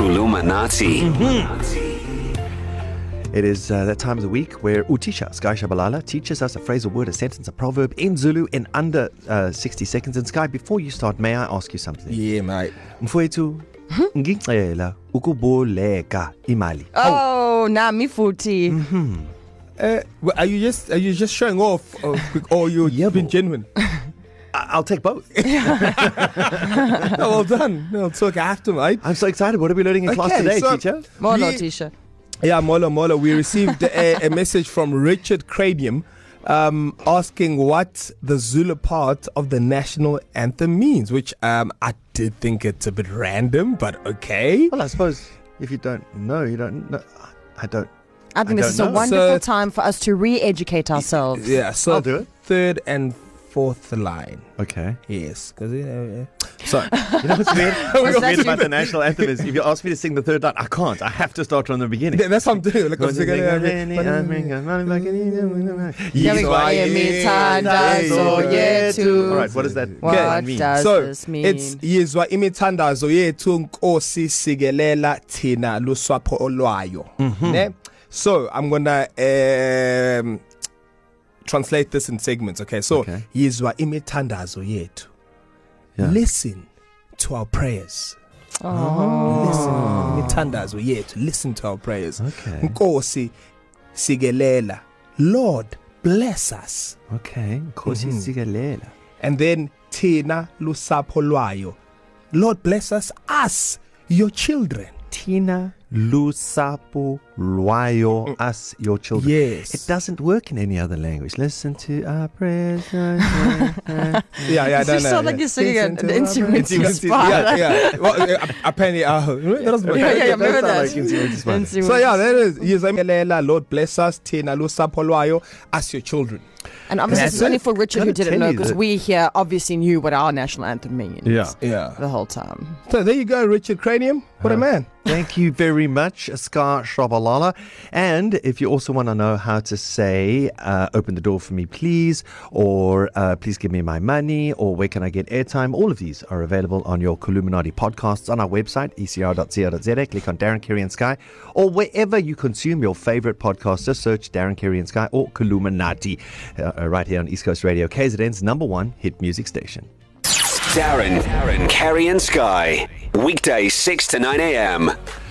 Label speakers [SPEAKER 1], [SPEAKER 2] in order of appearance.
[SPEAKER 1] Illuminati.
[SPEAKER 2] It is uh, that time of the week where Utisha Sky Shabalala teaches us a phrase, a word, a sentence, a proverb in Zulu in under uh, 60 seconds. And Sky, before you start, may I ask you something?
[SPEAKER 3] Yeah, mate.
[SPEAKER 2] Mfowethu, Hmm? ngicela ukuboleka imali.
[SPEAKER 4] Oh, Mm. nami futhi.
[SPEAKER 3] Uh, well, are you just are you just showing off, or, quick- or you
[SPEAKER 2] Yeah,
[SPEAKER 3] been
[SPEAKER 2] bro.
[SPEAKER 3] genuine?
[SPEAKER 2] I- I'll take both.
[SPEAKER 3] no, well done. No, talk after, mate.
[SPEAKER 2] I'm so excited. What are we learning in class
[SPEAKER 3] Okay,
[SPEAKER 2] today,
[SPEAKER 3] so-
[SPEAKER 2] teacher?
[SPEAKER 4] Molo
[SPEAKER 3] Ye-
[SPEAKER 4] Tisha.
[SPEAKER 3] Yeah, Molo Molo. We received a, a message from Richard Cranium um, asking what the Zulu part of the national anthem means, which um, I did think it's a bit random, but okay.
[SPEAKER 2] Well, I suppose if you don't know, you don't know. I don't.
[SPEAKER 4] I think
[SPEAKER 2] I
[SPEAKER 4] this is
[SPEAKER 2] don't
[SPEAKER 4] a
[SPEAKER 2] know.
[SPEAKER 4] wonderful
[SPEAKER 3] So-
[SPEAKER 4] time for us to re-educate ourselves.
[SPEAKER 3] Yeah, so
[SPEAKER 2] I'll do it.
[SPEAKER 3] third and fourth line.
[SPEAKER 2] Okay.
[SPEAKER 3] Yes, because you know. Yeah. So
[SPEAKER 2] You know what's weird? what's
[SPEAKER 4] that
[SPEAKER 2] weird
[SPEAKER 4] you?
[SPEAKER 2] about the national anthem is if you ask me to sing the third line, I can't. I have to start from the beginning.
[SPEAKER 3] that's what I'm doing. Like, I'm singing, uh,
[SPEAKER 2] All right, what does that
[SPEAKER 4] What
[SPEAKER 2] okay. mean?
[SPEAKER 4] does
[SPEAKER 3] so
[SPEAKER 4] this mean?
[SPEAKER 3] it's yizwa imithandazo yethu nkosi sikelela thina luswapho olwayo
[SPEAKER 2] Mhm.
[SPEAKER 3] ne so i'm gonna um, translate this in segments okay so
[SPEAKER 2] Okay.
[SPEAKER 3] yizwa imithandazo yethu
[SPEAKER 2] Yeah.
[SPEAKER 3] listen to our prayers listen imithandazo yethu listen to our prayers
[SPEAKER 2] Okay.
[SPEAKER 3] nkosi sikelela lord bless us
[SPEAKER 2] Okay, Nkosi Sikelela.
[SPEAKER 3] and then Tina lusapho lwayo. Lord bless us, us, your children.
[SPEAKER 2] Tina Lusapo Luayo, us, your children.
[SPEAKER 3] Yes.
[SPEAKER 2] It doesn't work in any other language. Listen to our prayers. yeah,
[SPEAKER 3] Yeah, yeah,
[SPEAKER 4] It just sounds like you're singing an- an instrument in
[SPEAKER 3] Yeah,
[SPEAKER 4] Spanish.
[SPEAKER 3] yeah. Well, uh, apparently, uh, that was
[SPEAKER 4] Yeah,
[SPEAKER 2] It
[SPEAKER 4] yeah, yeah,
[SPEAKER 2] does
[SPEAKER 4] remember
[SPEAKER 2] sound
[SPEAKER 4] that.
[SPEAKER 2] like instrument in Spanish.
[SPEAKER 4] Instrument.
[SPEAKER 3] So yeah, there is. Yizamelela, Lord bless us, Tina lusapho lwayo, us, your children.
[SPEAKER 4] And obviously,
[SPEAKER 2] That's
[SPEAKER 4] it's only
[SPEAKER 2] it.
[SPEAKER 4] for Richard who
[SPEAKER 2] Gotta tell
[SPEAKER 4] didn't know
[SPEAKER 2] you
[SPEAKER 4] because
[SPEAKER 2] that-
[SPEAKER 4] we here obviously knew what our national anthem means.
[SPEAKER 3] Yeah.
[SPEAKER 4] The whole time.
[SPEAKER 3] So there you go, Richard Cranium. What a man.
[SPEAKER 2] Thank you very much, Scar Shrabalala. And if you also want to know how to say, uh, open the door for me, please, or uh, please give me my money, or where can I get airtime, all of these are available on your Columinati podcasts on our website, E ecr.co.za. Click on Darren Kerry and Sky, or wherever you consume your favorite podcast, just search Darren Kerry and Sky or Columinati uh, uh, right here on East Coast Radio, KZN's number one hit music station.
[SPEAKER 1] Darren, Darren, Carrie and Sky. Weekday 6 to 9 a.m.